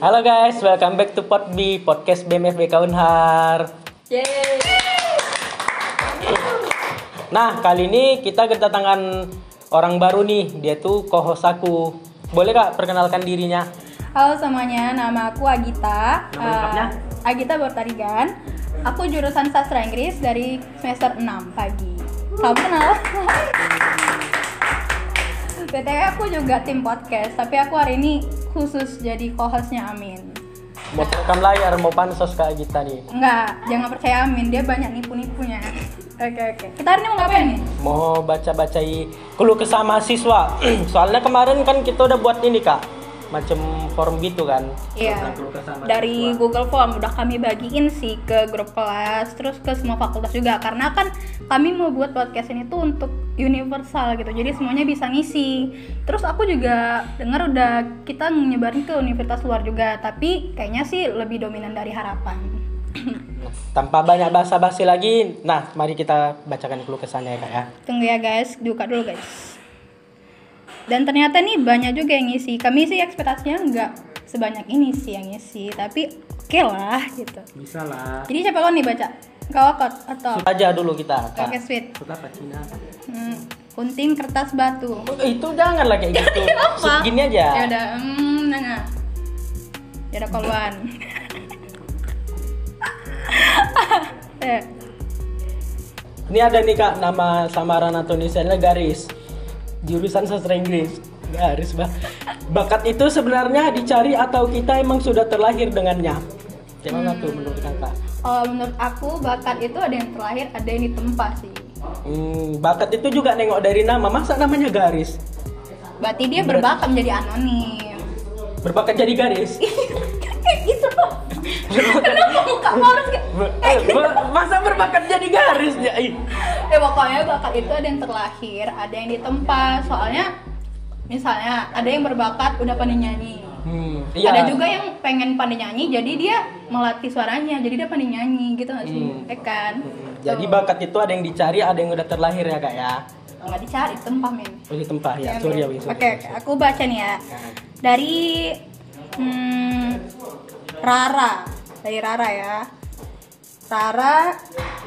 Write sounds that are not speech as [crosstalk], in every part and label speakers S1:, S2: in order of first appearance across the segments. S1: Halo guys, welcome back to Pod B, podcast BMFB Kaunhar.
S2: Yeay.
S1: Nah, kali ini kita kedatangan orang baru nih, dia tuh co-host aku. Boleh kak perkenalkan dirinya?
S2: Halo semuanya, nama aku Agita.
S1: Nama lengkapnya?
S2: Eh, Agita Bertarigan. Aku jurusan sastra Inggris dari semester 6 pagi. Salam kenal. [laughs] BTW aku juga tim podcast, tapi aku hari ini khusus jadi co-hostnya Amin.
S1: Mau rekam layar, mau pansos kak Gita nih.
S2: Enggak, jangan percaya Amin, dia banyak nipu-nipunya. Oke oke. Kita hari ini mau ngapain nih?
S1: Mau baca-bacai keluh kesah mahasiswa. [clears throat] Soalnya kemarin kan kita udah buat ini kak, macam form gitu kan.
S2: Iya.
S1: Tentang keluh kesah mahasiswa.
S2: Dari Google Form udah kami bagiin sih ke grup kelas, terus ke semua fakultas juga karena kan kami mau buat podcast ini tuh untuk universal gitu. Jadi semuanya bisa ngisi. Terus aku juga dengar udah kita nyebarin ke universitas luar juga, tapi kayaknya sih lebih dominan dari harapan.
S1: Tanpa banyak basa-basi lagi, nah mari kita bacakan keluh kesahnya ya kak ya.
S2: Tunggu ya guys, buka dulu guys. Dan ternyata nih banyak juga yang ngisi. Kami sih ekspektasinya nggak sebanyak ini sih yang ngisi, tapi oke lah gitu.
S1: Bisa lah.
S2: Jadi siapa kau nih baca? Kawakot atau
S1: Aja dulu kita. Kak.
S2: Oke sweet.
S1: Suka apa Cina?
S2: Hmm, kunting kertas batu.
S1: Eh, Itu janganlah kayak gitu. Segini aja.
S2: Ya udah, hmm, nah, nah. Ya udah koluan. [laughs] eh,
S1: Ini ada nih kak nama samaran atau desainnya garis. Jurusan sastra Inggris. Garis bah. Bakat itu sebenarnya dicari atau kita emang sudah terlahir dengannya? Gimana
S2: Hmm.
S1: tuh menurut kakak?
S2: kalau menurut aku bakat itu ada yang terlahir, ada yang ditempa sih.
S1: Hmm, bakat itu juga nengok dari nama. Masa namanya garis?
S2: Berarti dia berbakat menjadi anonim. [laughs]
S1: Berbakat jadi garis?
S2: Kayak gitu loh. Kenapa muka kau harus kayak
S1: Ber- eh, ber- masa berbakat jadi garis? Ya, ih.
S2: ya pokoknya bakat itu ada yang terlahir ada yang ditempa soalnya misalnya ada yang berbakat udah pandai nyanyi
S1: Hmm, iya.
S2: ada juga yang pengen pandai nyanyi jadi dia melatih suaranya jadi dia pandai nyanyi gitu nggak sih
S1: Hmm.
S2: ya kan
S1: Jadi
S2: Tuh.
S1: bakat itu ada yang dicari, ada yang udah terlahir ya kak ya?
S2: nggak dicari tempa men
S1: Oh di tempat ya,
S2: Ya,
S1: sorry ya
S2: oke
S1: Wing, sorry. Nah.
S2: oke. aku baca nih ya dari hmm, Rara dari Rara ya Rara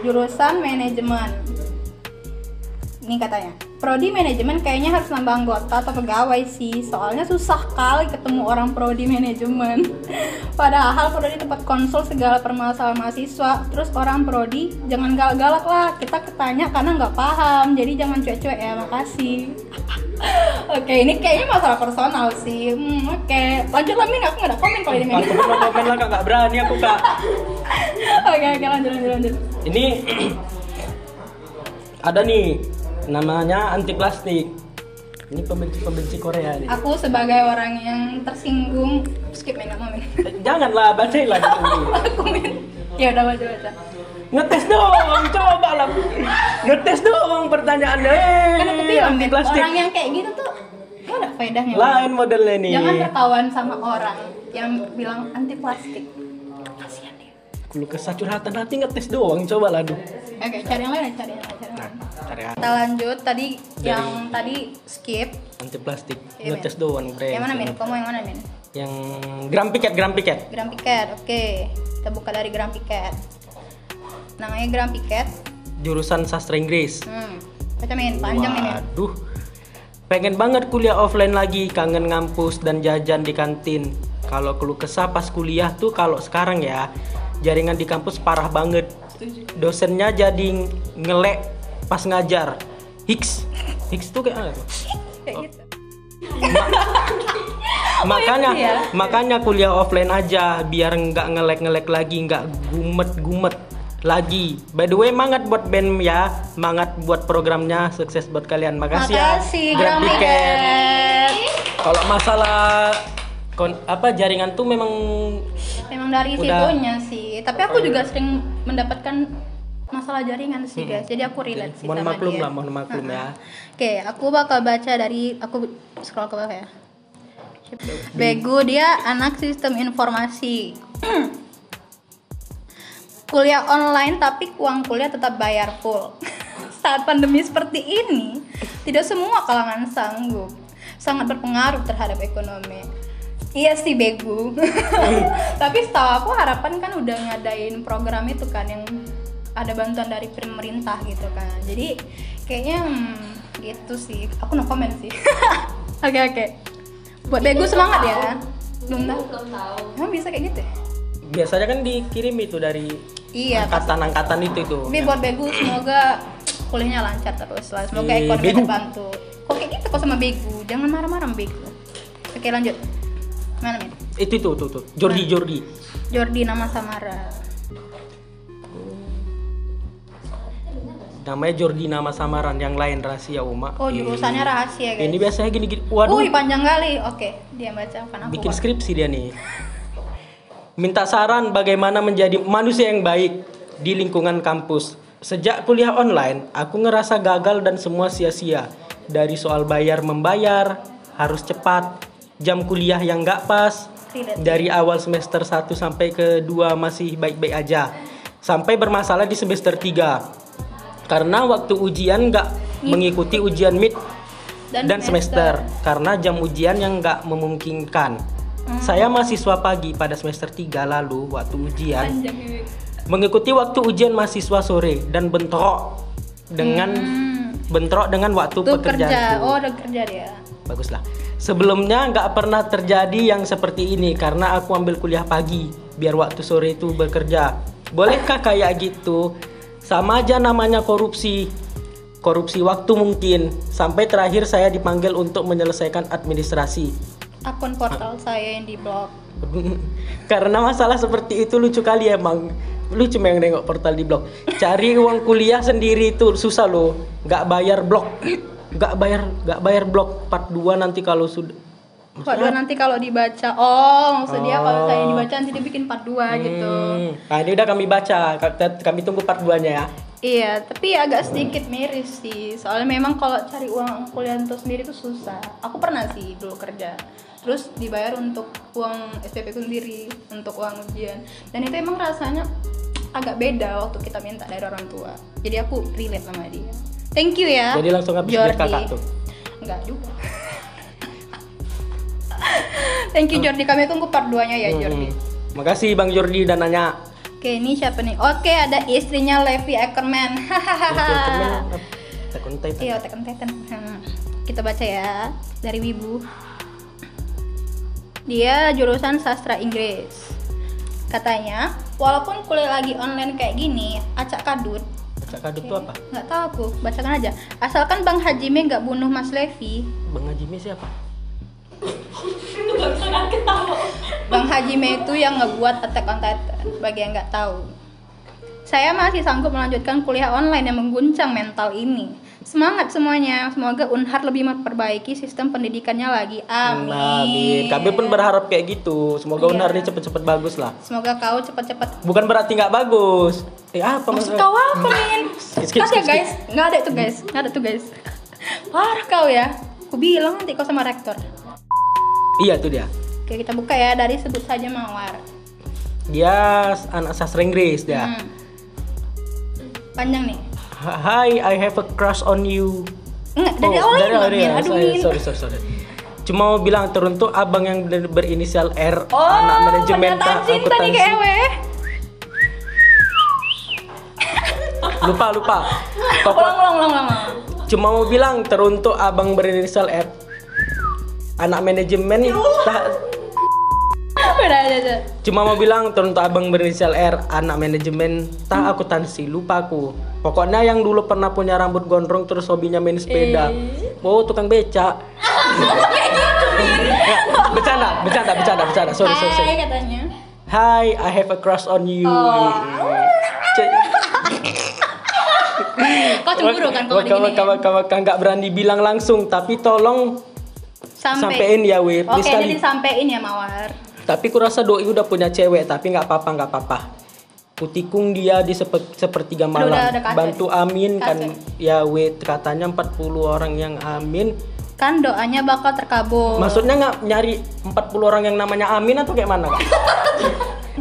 S2: jurusan manajemen ini katanya Prodi manajemen kayaknya harus nambah anggota atau pegawai sih soalnya susah kali ketemu orang prodi manajemen [laughs] padahal prodi tempat konsul segala permasalahan mahasiswa terus orang prodi jangan galak-galak lah kita ketanya karena nggak paham jadi jangan cuek-cuek ya makasih [laughs] Oke, ini kayaknya masalah personal sih. Hmm, Oke, lanjut lah Min, aku nggak ada komen kalau ini Min.
S1: Aku mau komen lah kak, gak berani aku kak.
S2: [laughs] Oke, oke, lanjut, lanjut, lanjut.
S1: Ini [clears throat] ada nih namanya anti plastik. Ini pembenci-pembenci Korea nih.
S2: Aku sebagai orang yang tersinggung, skip Min, nggak mau Min.
S1: Eh, Janganlah bacain lah gitu.
S2: aku Min. Ya udah baca baca.
S1: Ngetes doang, coba lah. Ngetes doang pertanyaannya. Eh,
S2: Kan aku bilang
S1: anti
S2: Min,
S1: plastik.
S2: orang yang kayak gitu tuh nggak ada faedahnya. Min.
S1: Lain modelnya nih.
S2: Jangan tertawan sama orang yang bilang anti plastik. Kasihan dia.
S1: Kalau kesacurhatan hati ngetes doang, coba lah duh.
S2: Oke, cari yang lain, cari yang lain, cari yang
S1: Nah,
S2: lain.
S1: cari
S2: Kita lanjut tadi yang tadi skip.
S1: anti plastik.
S2: Iya,
S1: Ngetes doang, bre.
S2: Yang mana Min? Kamu yang mana Min?
S1: Yang gram piket, gram piket.
S2: Gram Piket, oke. Kita buka dari Gram Piket. Namanya Gram Piket.
S1: Jurusan sastra Inggris.
S2: Hmm. Baca main, panjang ini.
S1: Waduh, pengen banget kuliah offline lagi, kangen ngampus dan jajan di kantin. Kalau keluh kesah pas kuliah tuh kalau sekarang ya, jaringan di kampus parah banget. Dosennya jadi ngelek pas ngajar. Hiks, Hiks tuh kayak apa tuh?
S2: Kayak gitu.
S1: makanya
S2: itu ya?
S1: makanya kuliah offline aja biar nggak ngelek-ngelek lagi nggak gumet-gumet lagi by the way mangat buat band ya mangat buat programnya sukses buat kalian makasih,
S2: Makasih,
S1: ya
S2: Gram
S1: Grab Ticket.
S2: Piket.
S1: kalau masalah kon- apa jaringan tuh memang
S2: Memang dari
S1: Udah. Iya.
S2: situnya sih. Tapi aku juga sering mendapatkan masalah jaringan sih guys. Jadi aku relate sih
S1: mohon
S2: sama
S1: maklum
S2: dia.
S1: lah mohon maklum ya
S2: Oke, aku bakal baca dari aku scroll ke bawah ya. Bego dia anak sistem informasi. kuliah online tapi uang kuliah tetap bayar full. [laughs] Saat pandemi seperti ini, tidak semua kalangan sanggup. Sangat berpengaruh terhadap ekonomi. Iya sih bego. [laughs] Tapi setahu aku harapan kan udah ngadain program itu kan yang ada bantuan dari pemerintah gitu kan. Jadi kayaknya hmm, gitu sih. Aku no comment sih. [laughs] Oke oke. Buat bego semangat ya. Belum tahu.
S3: belum tahu
S2: Emang bisa kayak gitu? ya?
S1: Biasanya kan dikirim itu dari
S2: Iya.
S1: angkatan-angkatan itu itu.
S2: Tapi buat bego semoga kuliahnya lancar terus lah. Semoga
S1: Ih,
S2: ekonomi
S1: Iya, Begu.
S2: terbantu. Kok kayak gitu kok sama bego? Jangan marah-marah sama bego. Oke lanjut. Mana Min?
S1: Itu tuh tuh tuh.
S2: Mm.
S1: Jordi Jordi.
S2: Jordi nama Samara.
S1: Namanya Jordi nama samaran yang lain rahasia Uma.
S2: Oh
S1: Ih.
S2: jurusannya rahasia
S1: Iya.
S2: guys.
S1: Ini biasanya gini-gini.
S2: Wuih
S1: Waduh,
S2: panjang kali. Oke, dia baca apa aku.
S1: bikin skripsi dia nih. Minta saran bagaimana menjadi manusia yang baik di lingkungan kampus. Sejak kuliah online, aku ngerasa gagal dan semua sia-sia. Dari soal bayar membayar, harus cepat, jam kuliah yang nggak pas,
S2: Relate.
S1: dari awal semester 1 sampai ke 2 masih baik-baik aja. Sampai bermasalah di semester 3. Karena waktu ujian nggak mengikuti ujian mid dan, semester. karena jam ujian yang nggak memungkinkan. Saya mahasiswa pagi pada semester 3 lalu waktu ujian
S3: panjang ini
S1: mengikuti waktu ujian mahasiswa sore dan bentrok dengan bentrok dengan Hmm. waktu
S2: Tuh
S1: pekerjaan.
S2: kerja.
S1: itu.
S2: Oh, udah kerja dia.
S1: Baguslah. Sebelumnya nggak pernah terjadi yang seperti ini karena aku ambil kuliah pagi biar waktu sore itu bekerja. Bolehkah kayak gitu? Sama aja namanya korupsi. Korupsi waktu mungkin. Sampai terakhir saya dipanggil untuk menyelesaikan administrasi. [laughs] Ah.
S2: Akun portal saya yang di blog.
S1: karena masalah seperti itu lucu kali emang. Lu cuma yang nengok portal di blog. Cari uang kuliah sendiri itu susah loh. Nggak bayar blog. Nggak bayar nggak bayar blog part 2 nanti kalau sudah
S2: Part 2 nanti kalau dibaca. Oh, maksud dia
S1: Oh.
S2: kalau saya dibaca nanti dia bikin part 2 gitu.
S1: Hmm. Nah, ini udah kami baca. Kita- Kami tunggu part 2-nya ya.
S2: Iya, tapi agak sedikit miris sih. Soalnya memang kalau cari uang kuliah untuk sendiri tuh susah. Aku pernah sih dulu kerja. Terus dibayar untuk uang SPP ku sendiri, untuk uang ujian. Dan itu emang rasanya agak beda waktu kita minta dari orang tua. Jadi aku relate sama dia. Thank you ya.
S1: Jadi langsung habis duit kakak tuh.
S2: Enggak juga. Thank you Jordi, kami tunggu part 2-nya ya Jordi.
S1: Hmm. Makasih Bang Jordi dan
S2: [laughs]
S1: Nanya.
S2: Oke, ini siapa nih? Oke, ada istrinya Levi Ackerman. [laughs] Hahaha.
S1: Second Titan.
S2: Iya, Attack on Titan. Hmm. Kita baca ya dari Wibu. Dia jurusan sastra Inggris. Katanya, walaupun kuliah lagi online kayak gini, acak kadut.
S1: Cak Kadut tuh apa?
S2: Nggak tahu aku, bacakan aja. Asalkan Bang Hajime nggak bunuh Mas Levi,
S1: Bang Hajime siapa?
S3: itu gak bisa kan ketawa
S2: Bang Hajime itu yang ngebuat Attack on Titan bagi yang nggak tahu. Saya masih sanggup melanjutkan kuliah online yang mengguncang mental ini. Semangat semuanya. Semoga Unhar lebih memperbaiki sistem pendidikannya lagi. Amin.
S1: Nah, Kami pun berharap kayak gitu. Semoga
S2: Iya.
S1: Unar ini cepet-cepet bagus lah.
S2: Semoga kau cepat-cepat
S1: Bukan berarti nggak bagus. Eh apa
S2: Maksud kau apa, Min?
S1: Skip, skip,
S2: Kas
S1: skip,
S2: ya,
S1: skip.
S2: guys. Nggak ada itu, guys. Nggak ada itu, guys. Parah kau ya. Aku bilang nanti kau sama rektor.
S1: Iya tuh dia.
S2: Oke, kita buka ya dari sebut saja Mawar.
S1: Dia anak sastra Inggris dia.
S2: Hmm. Panjang nih.
S1: Hi, I have a crush on you.
S2: Enggak, dari
S1: Oh,
S2: awal ini
S1: awal
S2: loh, Min.
S1: ya.
S2: Aduh,
S1: sorry,
S2: Min.
S1: sorry, sorry, sorry. Cuma mau bilang teruntuk abang yang ber- berinisial R
S2: Oh,
S1: anak manajemen
S2: pernyataan
S1: tak-
S2: cinta nih
S1: akuntansi.
S2: kewe.
S1: Lupa,
S2: [laughs]
S1: lupa. Toko-
S2: Ulang, ulang, ulang, ulang.
S1: [laughs] Cuma mau bilang teruntuk abang berinisial R anak manajemen
S2: Ya
S1: tak-
S2: Udah aja, aja.
S1: Cuma mau bilang teruntuk abang berinisial R anak manajemen
S2: Hmm.
S1: tak akuntansi lupa aku. Pokoknya yang dulu pernah punya rambut gondrong terus hobinya main sepeda.
S2: Eh.
S1: Wow, tukang becak.
S2: gitu.
S1: Nggak, bercanda, bercanda, bercanda, bercanda. Sorry, sorry, sorry.
S2: Hai katanya.
S1: Hi, I have a crush on you.
S2: Oh.
S1: C-
S2: Kau cemburu kan kalau
S1: Waka-
S2: digini?
S1: waka- waka- waka. nggak berani bilang langsung, tapi tolong
S2: Sampai.
S1: sampein ya, we.
S2: Oke,
S1: Please kali.
S2: jadi sampein ya Mawar.
S1: Tapi kurasa doi udah punya cewek, tapi nggak apa-apa, nggak apa-apa. Kutikung dia di sepe- sepertiga malam.
S2: udah, udah kacau.
S1: Bantu amin kan
S2: Kacau.
S1: ya we katanya 40 orang yang amin.
S2: Kan doanya bakal terkabul.
S1: Maksudnya nggak nyari 40 orang yang namanya amin atau kayak
S2: [laughs]
S1: mana? Kak?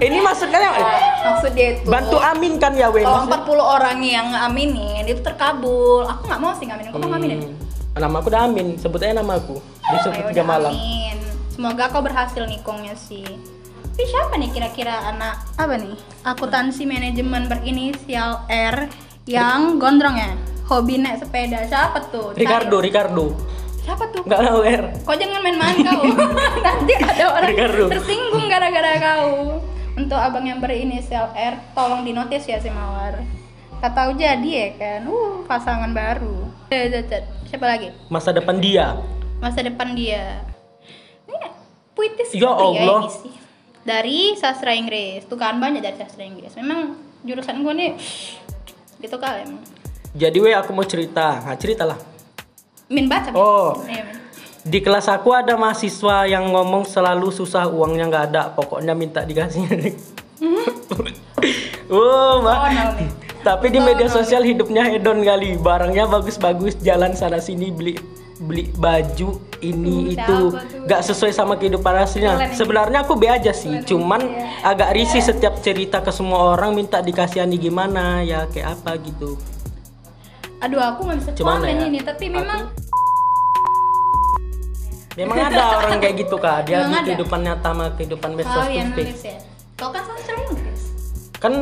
S1: Ini maksudnya
S2: Gitu. Maksud dia itu.
S1: bantu amin kan ya we.
S2: Kalau
S1: Maksudnya-
S2: 40 orang yang ngaminin itu terkabul. Aku
S1: Hmm.
S2: nggak mau sih ngaminin. Kamu mau ngaminin?
S1: Nama aku udah amin, sebut aja nama aku. Di
S2: ya? Ayo
S1: sepertiga
S2: udah
S1: malam.
S2: Amin. Semoga kau berhasil nikongnya sih. Tapi siapa nih kira-kira anak apa nih? Akuntansi manajemen berinisial R yang gondrong ya? Hobi naik sepeda siapa tuh? Cari.
S1: Ricardo, Ricardo.
S2: Siapa tuh?
S1: Enggak tahu R.
S2: Kau jangan main-main
S1: [laughs]
S2: kau. Nanti ada orang
S1: Ricardo.
S2: tersinggung gara-gara kau. Untuk abang yang berinisial R, tolong dinotis ya si Mawar. Kata tahu jadi ya kan. Uh, pasangan baru. Eh, Cacat. Siapa lagi?
S1: Masa depan dia.
S2: Masa depan dia. Ini puitis
S1: Ya
S2: sekali
S1: Allah.
S2: ini sih. Dari sastra Inggris. Tuh kan banyak dari sastra Inggris. Memang jurusan gue nih gitu kali emang.
S1: Jadi weh aku mau cerita. Nah, ceritalah.
S2: Min baca. Min.
S1: Oh.
S2: Iya, Min.
S1: Di kelas aku ada mahasiswa yang ngomong selalu susah uangnya nggak ada, pokoknya minta dikasih. [laughs] oh, Mbak.
S2: Oh, no, Min.
S1: Tapi di
S2: Oh,
S1: media
S2: no.
S1: sosial hidupnya hedon kali, barangnya bagus-bagus, jalan sana sini beli beli baju ini
S2: Tuh,
S1: itu
S2: siapa tuh?
S1: nggak sesuai sama kehidupan
S2: Keren
S1: aslinya.
S2: ini.
S1: Sebenarnya aku be aja sih,
S2: Keren ini,
S1: cuman
S2: ya.
S1: agak risih setiap cerita ke semua orang minta dikasihani gimana ya kayak apa gitu.
S2: Aduh aku nggak bisa
S1: Cuman
S2: komen
S1: ya,
S2: ini tapi
S1: aku-
S2: memang
S1: Memang
S2: [laughs]
S1: ada orang kayak gitu kak, dia di
S2: Memang ada. Oh, iya,
S1: kehidupan nyata sama kehidupan medsos
S2: Kau
S1: to
S2: yang
S1: speak.
S2: nulis ya? Kau kan sastra Inggris.
S1: Kan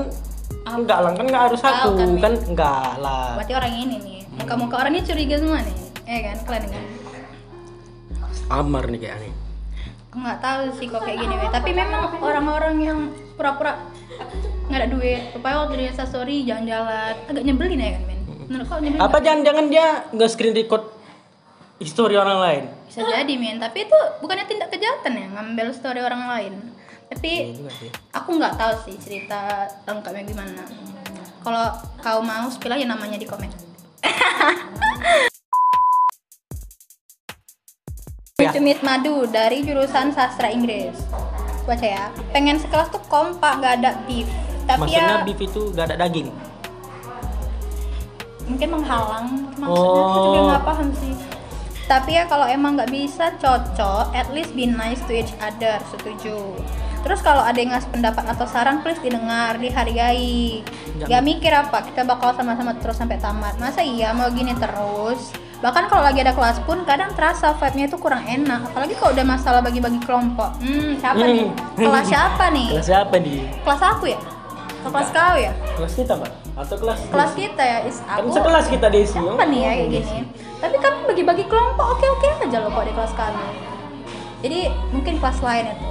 S1: enggak lah, kan enggak harus
S2: Tahu
S1: aku,
S2: kan, Mi?
S1: kan enggak lah.
S2: Berarti orang ini nih, muka-muka orang ini curiga semua nih. Eh kan, kalian kan?
S1: Amar nih kayaknya. nih.
S2: Aku nggak tahu sih kok kayak gini, weh. tapi memang orang-orang yang pura-pura nggak ada duit, supaya waktu dia story jalan-jalan, agak nyebelin ya kan, men? Menurut kau nyebelin?
S1: Apa
S2: nggak?
S1: jangan-jangan dia nggak screen record histori orang lain?
S2: Bisa jadi, men. Tapi itu bukannya tindak kejahatan ya, ngambil story orang lain.
S1: Iya
S2: Tapi
S1: juga sih.
S2: aku nggak tahu sih cerita lengkapnya gimana. Kalau kau mau, spill aja namanya di komen.
S1: [laughs] Ya.
S2: Cumit madu dari jurusan sastra Inggris. Baca ya. Pengen sekelas tuh kompak nggak ada beef. Tapi
S1: Maksudnya
S2: ya
S1: beef itu gak ada daging.
S2: mungkin menghalang maksudnya aku juga
S1: Oh.
S2: nggak paham sih. Tapi ya kalau emang nggak bisa cocok, at least be nice to each other. Setuju. Terus kalau ada yang ngasih pendapat atau saran, please didengar, dihargai.
S1: Jangan.
S2: Gak mikir apa, kita bakal sama-sama terus sampai tamat. Masa iya mau gini terus? Bahkan kalau lagi ada kelas pun kadang terasa vibe-nya itu kurang enak. Apalagi kalau udah masalah bagi-bagi kelompok. Hmm, siapa
S1: Hmm.
S2: nih? Kelas siapa nih?
S1: [laughs] Kelas siapa nih?
S2: Kelas aku ya? Atau Kelas kau ya?
S1: Kelas kita, Mbak? Atau kelas
S2: Kelas kita ya? Is
S1: Kan
S2: aku
S1: sekelas kita di sini.
S2: apa nih ya kayak gini tapi kami bagi-bagi kelompok oke-oke aja loh kok di kelas kami jadi mungkin kelas lain ya, itu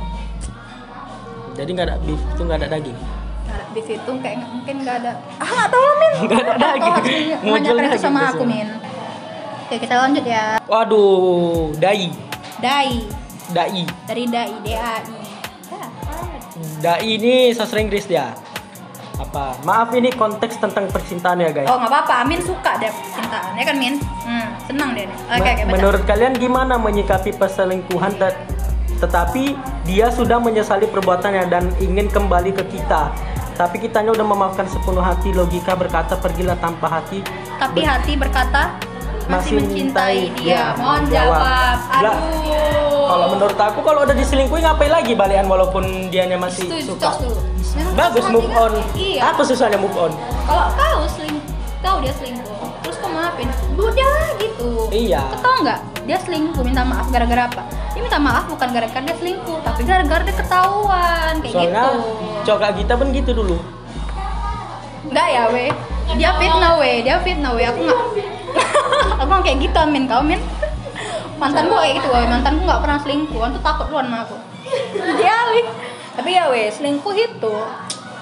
S1: Jadi nggak ada beef itu nggak ada daging.
S2: Nggak ada Nah, di situ kayak nggak- mungkin nggak ada ah nggak tahu lah min
S1: [laughs] Nggak ada
S2: Nggak tahu
S1: daging.
S2: harus nanya-
S1: Muncul
S2: menanyakan itu
S1: daging
S2: sama
S1: biasanya.
S2: aku min oke kita lanjut ya
S1: Waduh, dai,
S2: dai
S1: dai.
S2: dari dai dai Ya.
S1: Dai ini sastra Inggris dia. Apa? Maaf ini konteks tentang percintaan ya guys.
S2: oh nggak apa-apa Min suka deh percintaan ya kan min hmm, senang deh nih. oke
S1: Me-
S2: oke baca
S1: Menurut kalian gimana menyikapi perselingkuhan te- tetapi dia sudah menyesali perbuatannya dan ingin kembali ke kita. Tapi kitanya udah memaafkan sepenuh hati, logika berkata pergilah tanpa hati.
S2: tapi hati berkata masih,
S1: Masih
S2: mencintai
S1: mencintai
S2: dia.
S1: dia.
S2: Mohon
S1: Jawab.
S2: jawab.
S1: Lah,
S2: Aduh.
S1: Kalau menurut aku kalau udah diselingkuhi ngapain lagi balian walaupun dianya masih
S2: Setuju,
S1: suka.
S2: cos dulu. Memang
S1: Bagus
S2: cos
S1: move
S2: hati
S1: on.
S2: kan? Iya.
S1: Apa susahnya move on?
S2: Kalau kau seling, kau dia selingkuh. Terus kau maafin, udah gitu.
S1: Iya.
S2: Kau tahu nggak? Dia selingkuh minta maaf gara-gara apa? Dia minta maaf bukan gara-gara dia selingkuh, tapi gara-gara dia ketahuan kayak
S1: Soalnya
S2: gitu.
S1: cokak kita pun gitu dulu.
S2: Enggak ya, weh. Dia fitnah, weh. Dia fitnah, weh. Aku nggak. [laughs] aku nggak kayak gitu, Amin. Kau, Amin. Mantan gua kayak gitu, weh. Mantan gua nggak pernah selingkuh. Antu takut luan sama aku. Dia, weh. Tapi ya, weh, selingkuh itu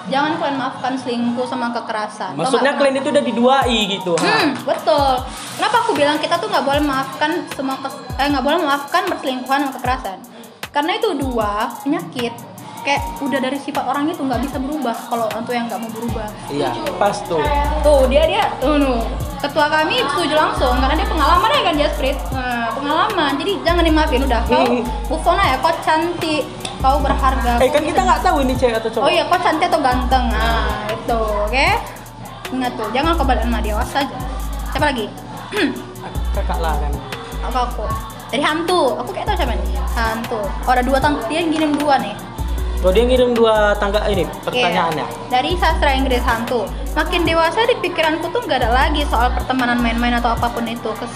S2: jangan kalian maafkan selingkuh sama kekerasan. Kau
S1: Maksudnya
S2: nggak pernah-
S1: kalian itu udah diduai gitu.
S2: Hmm, betul. Kenapa aku bilang kita tuh nggak boleh maafkan semua kes- eh nggak boleh maafkan perselingkuhan sama kekerasan? Karena itu dua penyakit kayak udah dari sifat orang itu nggak bisa berubah kalau orang tuh yang nggak mau berubah.
S1: Iya, pas tuh.
S2: Tuh dia dia tuh nu. ketua kami setuju langsung karena dia pengalaman ya kan dia spirit Nah, pengalaman. Jadi jangan dimaafin udah kau
S1: Hmm.
S2: move on aja. Kau cantik, kau berharga.
S1: Eh
S2: kau
S1: kan kita
S2: bisa-
S1: nggak tahu ini cewek atau cowok.
S2: Oh iya, kau cantik atau ganteng? Nah, itu, oke? Ingat tuh, jangan kau balik sama dia, aja. Siapa lagi? [clears throat]
S1: Kakak lah kan.
S2: Aku aku. Dari hantu, aku kayak tau siapa nih? Hantu. Oh, ada dua tang, dia ngirim dua nih.
S1: Oh dia ngirim dua tangga ini
S2: Oke.
S1: pertanyaannya.
S2: Iya, Dari sastra Inggris hantu. Makin dewasa di pikiranku tuh nggak ada lagi soal pertemanan main-main atau apapun itu. Kes,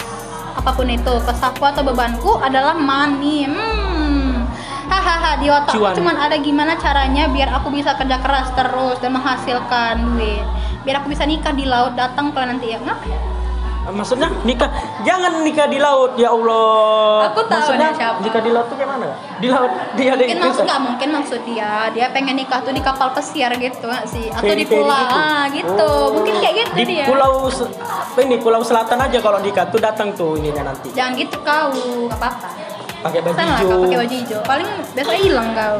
S2: apapun itu, kesahku atau bebanku adalah money. Hmm. hahaha di otak
S1: Cuan.
S2: cuman ada gimana caranya biar aku bisa kerja keras terus dan menghasilkan duit biar aku bisa nikah di laut datang kalian nanti ya ngapain
S1: Eh, Maksudnya nikah, jangan nikah di laut ya Allah.
S2: Aku tahu
S1: Maksudnya,
S2: nih siapa.
S1: Nikah di laut tuh kayak mana? Kak? Di laut dia ada
S2: mungkin maksud nggak mungkin maksud dia dia pengen nikah tuh di kapal pesir gitu nggak sih atau di
S1: Peri-peri
S2: pulau ah, gitu
S1: Oh.
S2: mungkin kayak gitu
S1: di
S2: dia
S1: pulau se- apa ini pulau selatan aja kalau nikah tuh datang tuh ininya nanti
S2: jangan gitu kau nggak apa-apa
S1: pakai baju
S2: Sama lah
S1: hijau.
S2: kau pakai baju hijau paling biasa hilang kau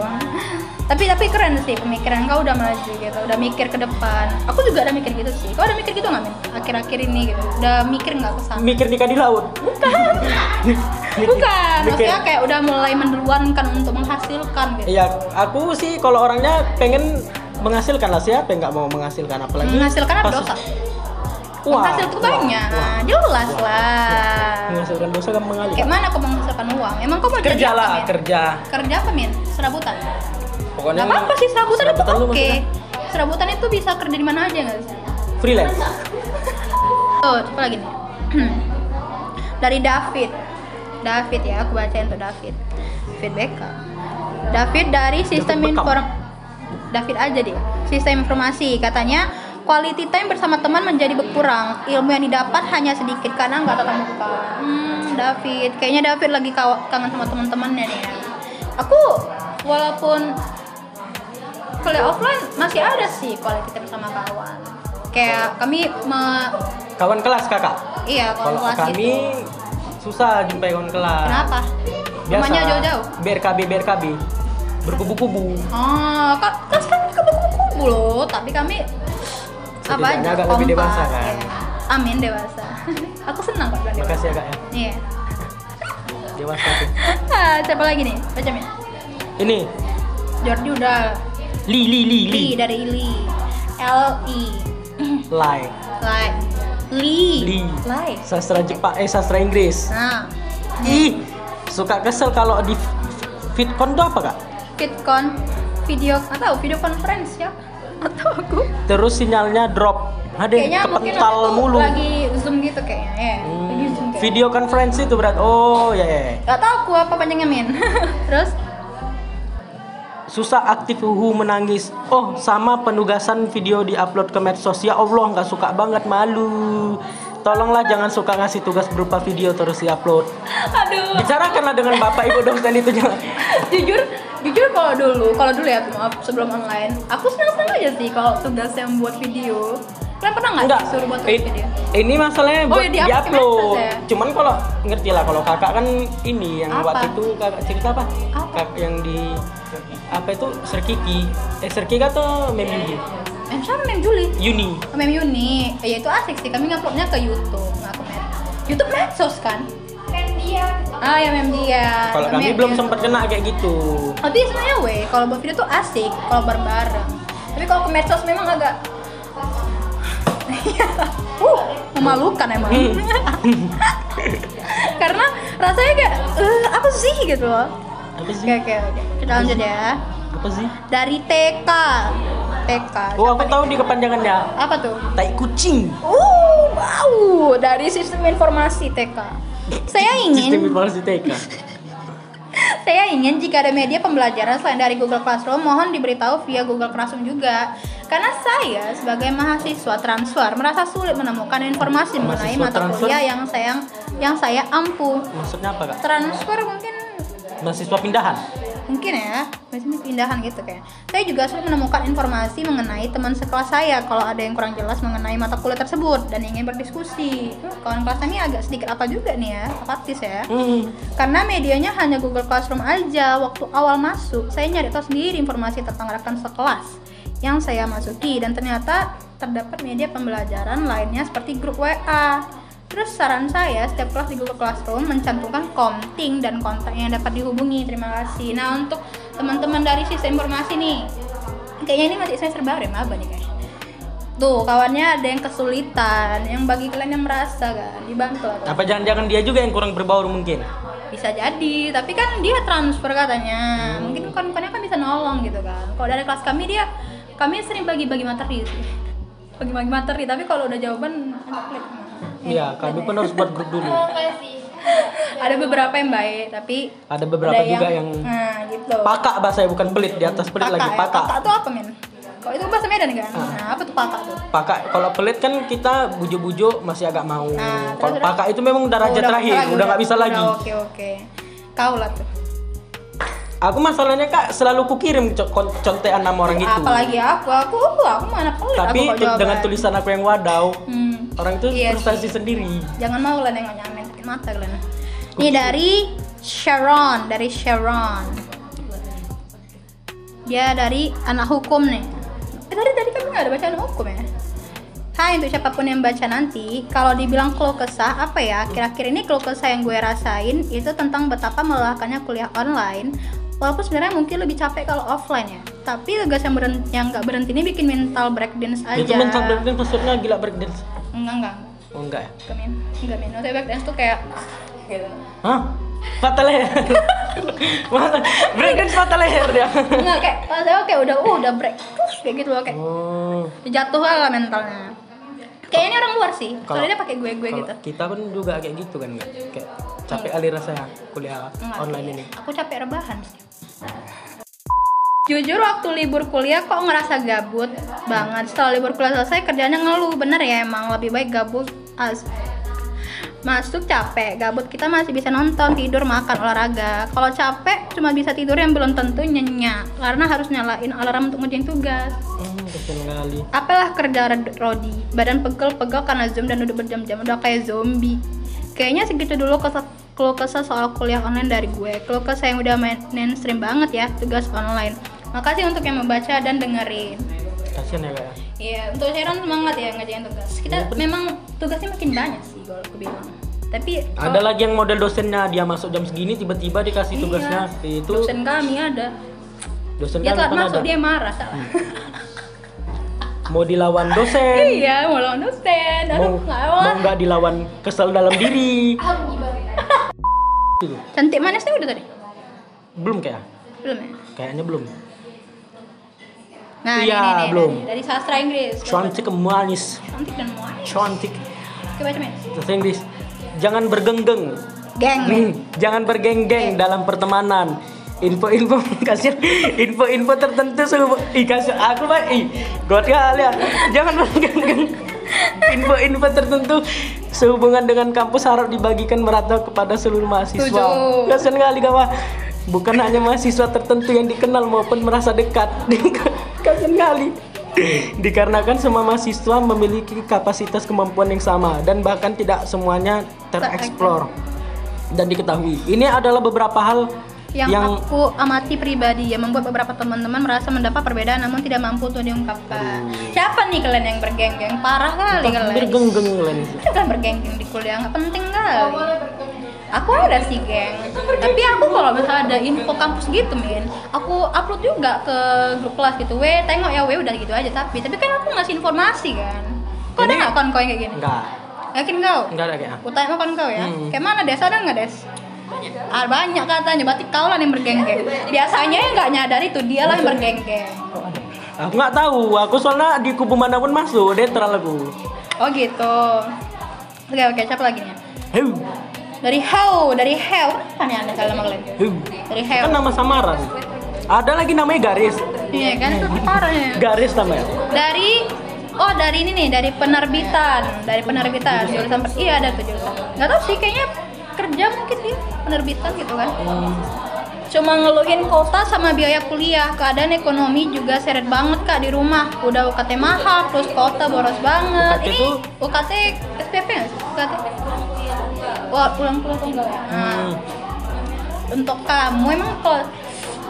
S2: tapi tapi keren sih pemikiran kau udah maju gitu udah mikir ke depan aku juga ada mikir gitu sih kau ada mikir gitu nggak min akhir-akhir ini gitu udah mikir nggak kesana
S1: Mikir nikah di laut.
S2: bukan
S1: [laughs] mikir-
S2: maksudnya kayak udah mulai mendeluankan untuk menghasilkan gitu
S1: Iya, aku sih kalau orangnya pengen menghasilkan lah siapa yang nggak mau menghasilkan apalagi
S2: menghasilkan apa
S1: pas-
S2: dosa
S1: Wah,
S2: menghasil tuh
S1: wah,
S2: banyak Nah,
S1: wah.
S2: jelas lah
S1: menghasilkan dosa kan mengalir
S2: kayak mana kau menghasilkan uang emang kau mau jadi
S1: kerja
S2: apa,
S1: lah
S2: Min?
S1: kerja
S2: kerja apa min serabutan
S1: pokoknya
S2: nggak apa-apa sih serabutan,
S1: serabutan
S2: itu
S1: lu
S2: oke
S1: maksudnya?
S2: serabutan itu bisa kerja di mana aja nggak sih
S1: freelance
S2: oh apa lagi nih [clears throat] dari David David ya aku bacain tuh David David Beckham David dari sistem
S1: David Beckham.
S2: inform David aja deh sistem informasi katanya quality time bersama teman menjadi berkurang ilmu yang didapat hanya sedikit karena nggak tatap muka hmm David kayaknya David lagi kawa- kangen sama teman-temannya nih aku walaupun kuliah offline masih ada sih quality time sama kawan kayak kami me-
S1: kawan kelas kakak
S2: Iya, kalau
S1: kalau
S2: kelas
S1: kami eh,
S2: gitu.
S1: susah jumpai kawan kelas
S2: Kenapa?
S1: Biasa,
S2: Rumahnya jauh-jauh.
S1: BRKB BRKB berkubu-kubu
S2: Oh, kak, kelas kan kubu-kubu loh, tapi kami apa
S1: Setidaknya
S2: aja?
S1: agak lebih
S2: kompak,
S1: dewasa, kan?
S2: iya. Amin dewasa. [laughs] Aku senang kok bilang dewasa.
S1: makasih ya kak ya
S2: Iya. [laughs]
S1: dewasa tuh
S2: Ah, siapa lagi nih? Baca Min.
S1: ini
S2: Jordi udah.
S1: li li li li
S2: Li dari Li. L I.
S1: lai
S2: Lai. Li.
S1: Li.
S2: Lai.
S1: sastra Jepang eh sastra Inggris
S2: Nah,
S1: ih suka kesel kalau di fitcon tuh apa kak
S2: VidCon video atau video conference ya? Atau aku?
S1: terus sinyalnya drop ada yang
S2: Kayaknya mungkin
S1: kepental
S2: aku
S1: mulu
S2: lagi zoom gitu kayaknya. Ya,
S1: Hmm,
S2: lagi zoom kayaknya.
S1: video konferensi itu berat oh ya ya.
S2: Gak tau aku apa panjangnya Min [laughs] Terus
S1: susah aktif uhu menangis oh sama penugasan video diupload ke medsos ya Allah nggak suka banget malu tolonglah jangan suka ngasih tugas berupa video terus diupload
S2: Aduh
S1: bicarakanlah dengan bapak ibu dosen itu jangan
S2: Jujur Jujur kalau dulu Kalau dulu ya maaf Sebelum online Aku seneng-seneng aja sih Kalau tugas yang buat video Kalian pernah gak
S1: Enggak.
S2: sih suruh buat
S1: Eh,
S2: tugas video?
S1: Ini masalahnya
S2: Oh,
S1: buat
S2: ya,
S1: di
S2: di-upload ke
S1: upload.
S2: medsos ya?
S1: Cuman kalau ngerti lah kalau kakak kan ini yang
S2: Apa?
S1: waktu itu kakak cerita apa?
S2: Apa?
S1: Kak- yang di apa itu Serkiki. Eh Serkiki atau Mem Yuni?
S2: Mem sama Mem Juli
S1: Yuni.
S2: Mem Yuni Eh, Ya itu asik sih Kami nguploadnya ke Youtube Nggak ke Med Youtube medsos kan?
S3: Kan dia
S2: Ah ya Mem dia
S1: Kalau kami
S2: Mem
S1: belum
S2: Youtube.
S1: sempat kena kayak gitu.
S2: Tapi sebenarnya weh Kalau buat video tuh asik Kalau bareng-bareng Tapi kalau ke medsos memang agak [laughs] uh, memalukan emang [laughs]
S1: Hmm.
S2: karena rasanya kayak "Eh, apa sih gitu loh
S1: Apa sih?
S2: oke oke oke kita lanjut ya
S1: Apa sih?
S2: dari TK TK
S1: Oh, aku tahu di kepanjangannya.
S2: apa tuh
S1: Tai kucing.
S2: uh wow dari sistem informasi TK saya
S1: Sistem
S2: ingin
S1: informasi TK.
S2: saya ingin jika ada media pembelajaran selain dari Google Classroom mohon diberitahu via Google Classroom juga karena saya sebagai mahasiswa transfer merasa sulit menemukan informasi
S1: Mahasiswa
S2: mengenai mata
S1: transfer?
S2: kuliah yang saya yang saya ampuh
S1: Maksudnya apa, Kak?
S2: transfer mungkin
S1: Mahasiswa pindahan.
S2: mungkin ya biasanya pindahan gitu kayak saya juga sulit menemukan informasi mengenai teman sekelas saya kalau ada yang kurang jelas mengenai mata kuliah tersebut dan ingin berdiskusi Hmm, kawan kelas ini agak sedikit apa juga nih ya apatis ya
S1: Hmm.
S2: karena medianya hanya Google Classroom aja waktu awal masuk saya nyari tahu sendiri informasi tentang rekan sekelas yang saya masuki dan ternyata terdapat media pembelajaran lainnya seperti grup WA terus saran saya setiap kelas di Google Classroom mencantumkan komting dan kontak yang dapat dihubungi terima kasih nah untuk teman-teman dari sistem informasi nih kayaknya ini masih saya baru ya apa nih kayaknya tuh kawannya ada yang kesulitan yang bagi kalian yang merasa kan dibantu atau
S1: Apa jangan-jangan dia juga yang kurang berbaur mungkin?
S2: bisa jadi tapi kan dia transfer katanya
S1: Hmm.
S2: mungkin kawan-kawannya kan bisa nolong gitu kan kalau dari kelas kami dia kami sering bagi-bagi materi sih. [laughs] bagi-bagi materi tapi kalau udah jawaban enak lihat.
S1: Iya, kami pun harus buat grup dulu.
S3: mau nggak sih?
S2: [laughs] ada beberapa yang baik tapi
S1: Ada beberapa
S2: ada
S1: juga yang,
S2: nah gitu
S1: pakak bahasa bukan pelit di atas pelit lagi Ah.
S2: ya.
S1: pakak.
S2: pakak tuh apa men kalau itu bahasa Medan kan nah apa tuh pakak tuh
S1: Pakak kalau pelit kan kita bujuk-bujuk masih agak mau.
S2: Nah,
S1: kalau
S2: terus-
S1: pakak itu memang
S2: Oh,
S1: derajat
S2: udah
S1: terakhir,
S2: nggak bisa
S1: udah nggak bisa
S2: udah
S1: lagi.
S2: oke oke kau lah tuh
S1: Aku masalahnya kak selalu kukirim co- kon- contekan nama orang itu.
S2: apalagi aku aku aku mana pelit
S1: Gitu. Tapi
S2: aku kok
S1: tu- dengan
S2: jawaban.
S1: tulisan aku yang wadau,
S2: Hmm,
S1: orang itu
S2: Iya
S1: frustasi sendiri.
S2: jangan mau lah nengoknya amin sakit mata kalian ini dari Sharon dari Sharon dia dari anak hukum nih eh tadi tadi kan nggak ada bacaan hukum ya Hai untuk siapapun yang baca nanti, kalau dibilang keluh kesah apa ya? Akhir-akhir ini keluh kesah yang gue rasain itu tentang betapa melelahkannya kuliah online. Walaupun sebenarnya mungkin lebih capek kalau offline ya. Tapi tugas yang beren- yang nggak berhenti ini bikin mental breakdance aja.
S1: Itu mental breakdance maksudnya gila breakdance.
S2: Enggak enggak.
S1: Oh enggak ya?
S2: Enggak min, enggak min. Maksudnya breakdance tuh kayak gitu.
S1: Hah? Patah leher. [laughs] Masa breakdance patah leher ya, dia.
S2: Enggak kayak pas saya kayak udah uh, udah break terus kayak gitu loh kayak
S1: Oh.
S2: jatuh lah mentalnya. Kayaknya ini orang luar sih.
S1: Kalau-
S2: Soalnya dia pakai gue-gue
S1: Kalau
S2: gitu. Iya.
S1: Kita pun juga kayak gitu kan, Kak? kayak capek aliran saya kuliah
S2: Enggak,
S1: online
S2: kayak-
S1: ini.
S2: Aku capek rebahan sih. Jujur waktu libur kuliah kok ngerasa gabut banget. Setelah libur kuliah selesai kerjanya ngeluh. Bener ya emang lebih baik gabut as Masuk capek, gabut kita masih bisa nonton, tidur, makan, olahraga. Kalau capek cuma bisa tidur yang belum tentu nyenyak karena harus nyalain alarm untuk ngerjain tugas.
S1: Hmm, kesian kali.
S2: Apalah kerja Rod- Rodi, badan pegel-pegel karena zoom dan duduk berjam-jam udah kayak zombie. Kayaknya segitu dulu kesel keluh kesah soal kuliah online dari gue. Keluh kesah yang udah main- mainstream banget ya, tugas online. Makasih untuk yang membaca dan dengerin.
S1: Kasian ya kak. ya?
S2: Iya, untuk Sharon semangat ya ngerjain tugas. Kita
S1: Iya,
S2: memang tugasnya makin banyak sih kalau aku bilang. Tapi
S1: Ada lagi yang model dosennya dia masuk jam segini tiba-tiba dikasih
S2: Iya.
S1: tugasnya itu
S2: dosen kami ada.
S1: dosen kan
S2: Dia telat
S1: pernah
S2: masuk,
S1: ada. Hmm.
S2: dia marah. salah.
S1: mau dilawan dosen,
S2: [laughs] iya, mau lawan dosen.
S1: mau
S2: Aduh, nggak mau.
S1: mau nggak dilawan kesel dalam
S2: [laughs]
S1: diri.
S3: Aku gimana?
S1: Itu
S2: Cantik manisnya udah tadi?
S1: belum kayak
S2: Belum ya?
S1: kayaknya belum.
S2: Nah,
S1: Iya,
S2: ini, ini, ini,
S1: belum.
S2: Dari, dari sastra Inggris.
S1: Cantik manis,
S2: Cantik dan muai.
S1: cantik.
S2: Oke, baca men.
S1: Bahasa Inggris. Jangan bergenggeng.
S2: Geng, men.
S1: Hmm, jangan bergenggeng dalam pertemanan. Info-info [laughs] kasir, info-info tertentu sehubung ih kasir aku mah ih god kali ya. Jangan bergenggeng. Info-info tertentu sehubungan dengan kampus harap dibagikan merata kepada seluruh mahasiswa.
S2: Setuju.
S1: Kasian kali kawan. Bukan hanya mahasiswa tertentu yang dikenal maupun merasa dekat. [laughs] Kasian kali. Dikarenakan semua mahasiswa memiliki kapasitas kemampuan yang sama dan bahkan tidak semuanya tereksplor dan diketahui. Ini adalah beberapa hal
S2: Yang,
S1: yang,
S2: aku amati pribadi ya membuat beberapa teman-teman merasa mendapat perbedaan namun tidak mampu untuk diungkapkan. Siapa nih kalian yang bergenggeng? Parah kali kalian.
S1: bergenggeng Len.
S2: Bukan bergenggeng di kuliah nggak penting kali. Aku ada sih geng. Tapi aku kalau misalnya ada info kampus gitu min, aku upload juga ke grup kelas gitu. Weh tengok ya weh udah gitu aja tapi tapi kan aku ngasih informasi kan. Kok ada
S1: Ini-
S2: nggak kawan-kawan kayak gini?
S1: Enggak,
S2: Yakin kau?
S1: enggak ada kayaknya.
S2: Aku tanya makan kau ya.
S1: Hmm.
S2: Kayak mana Des? Ada nggak Des? Ah, banyak katanya, berarti kau lah yang bergenggeng. Biasanya yang nggak nyadari itu dia lah yang bergenggeng.
S1: Aku nggak tahu. Aku soalnya di kubu manapun masuk, dia terlalu aku.
S2: Oh gitu. Oke oke, siapa lagi nih?
S1: Heu,
S2: Dari How, dari How, apa nih anda kalau nama kalian?
S1: heu.
S2: Dari How.
S1: Kan nama samaran. Ada lagi namanya garis.
S2: Iya kan, itu parah ya.
S1: Garis namanya.
S2: Dari Oh dari ini nih dari penerbitan dari penerbitan jurusan per- iya ada tuh jurusan nggak tahu sih kayaknya kerja mungkin dia penerbitan gitu kan
S1: Hmm.
S2: Cuma ngeluhin kota sama biaya kuliah, keadaan ekonomi juga seret banget kak di rumah. Udah UKT mahal, plus kota boros banget.
S1: UKT
S2: Ini
S1: tuh?
S2: UKT SPP nggak sih? UKT? Wah, pulang pulang tuh enggak ya? Nah,
S1: Hmm.
S2: Untuk kamu emang kalau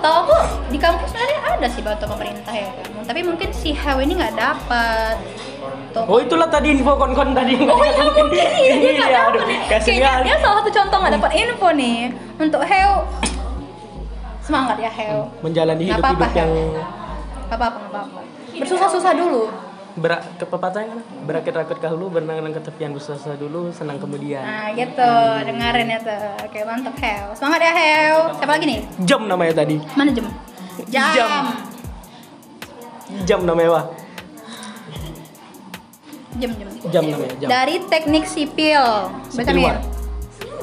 S2: tahu aku di kampus sebenarnya ada sih batu pemerintah ya kamu. Tapi mungkin si Hew ini nggak dapat. Tuh.
S1: Oh itulah tadi info kon-kon tadi. [laughs] yang
S2: Oh
S1: tadi
S2: iya
S1: aku bikin.
S2: mungkin iya dia nggak
S1: Iya,
S2: dapat
S1: aduh,
S2: nih.
S1: kasihan
S2: Kayaknya
S1: kali.
S2: dia salah satu contoh nggak dapat info nih. Untuk Heo semangat ya Heo.
S1: Menjalani
S2: Nggak
S1: hidup-hidup
S2: apa-apa,
S1: yang
S2: Gak apa-apa nggak apa-apa. Bersusah-susah dulu.
S1: berak kepepatahnya kan? berakit-rakit dahulu, berenang-renang ke tepian bersusah dulu, senang kemudian.
S2: Nah gitu dengerin ya tuh. Oke mantep Heo. Semangat ya Heo. Siapa lagi nih?
S1: Jam namanya tadi.
S2: Mana jam? Jam.
S1: Jam. Jam namanya wah.
S2: Jam jam.
S1: Jam namanya jam.
S2: Dari teknik sipil. Baca
S1: Sipil
S2: Mir.
S1: what?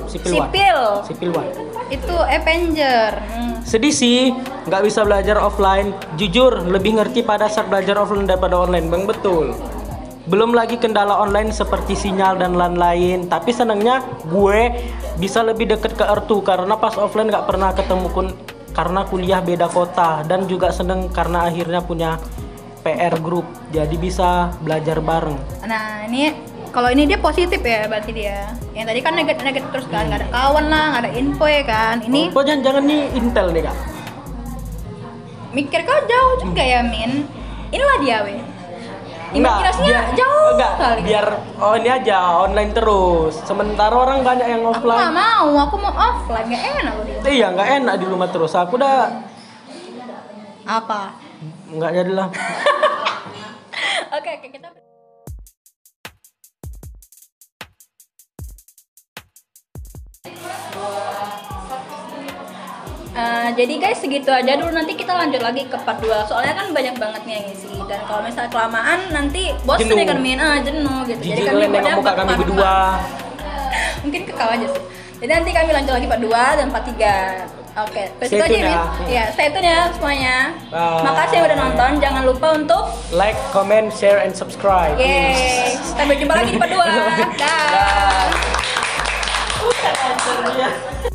S1: Sipil One.
S2: Sipil.
S1: Sipil One.
S2: Itu Avenger. Hmm.
S1: Sedih sih, nggak bisa belajar offline. Jujur, lebih ngerti pada saat belajar offline daripada online, bang betul. Belum lagi kendala online seperti sinyal dan lain-lain. Tapi senangnya gue bisa lebih deket ke Ertu karena pas offline nggak pernah ketemu kun karena kuliah beda kota dan juga seneng karena akhirnya punya PR group. Jadi bisa belajar bareng.
S2: Nah, ini kalau ini dia positif ya berarti dia. Yang tadi kan negatif negatif terus kan, nggak ada kawan lah, nggak ada info ya kan. Ini
S1: Oh, jangan jangan nih Intel nih kak.
S2: mikir kau jauh juga ya Min. Inilah dia weh. Imajinasinya
S1: biar-
S2: jauh
S1: enggak,
S2: sekali.
S1: biar oh ini aja online terus sementara orang banyak yang
S2: aku nggak
S1: offline
S2: mau, aku mau offline, nggak enak loh dia.
S1: iya nggak enak di rumah terus aku udah
S2: Apa?
S1: nggak jadilah
S2: [laughs] Oke, oke kita. Eh, jadi guys segitu aja dulu nanti kita lanjut lagi ke part 2 soalnya kan banyak banget nih yang ngisi dan kalau misalnya kelamaan nanti bosan
S1: Jenuh.
S2: ya kan main ah jenuh gitu
S1: jijik kalian
S2: maunya
S1: nengok muka kami
S2: part-
S1: berdua
S2: mungkin ke kau aja sih jadi nanti kami lanjut lagi part 2 dan part 3 oke terus
S1: Stay
S2: itu aja
S1: tune
S2: Min.
S1: ya.
S2: ya stay tune ya semuanya
S1: Bye.
S2: makasih yang udah nonton jangan lupa untuk
S1: like comment share and subscribe
S2: Yeay.
S1: [laughs]
S2: Sampai jumpa lagi di part 2. Dah.
S1: Dah.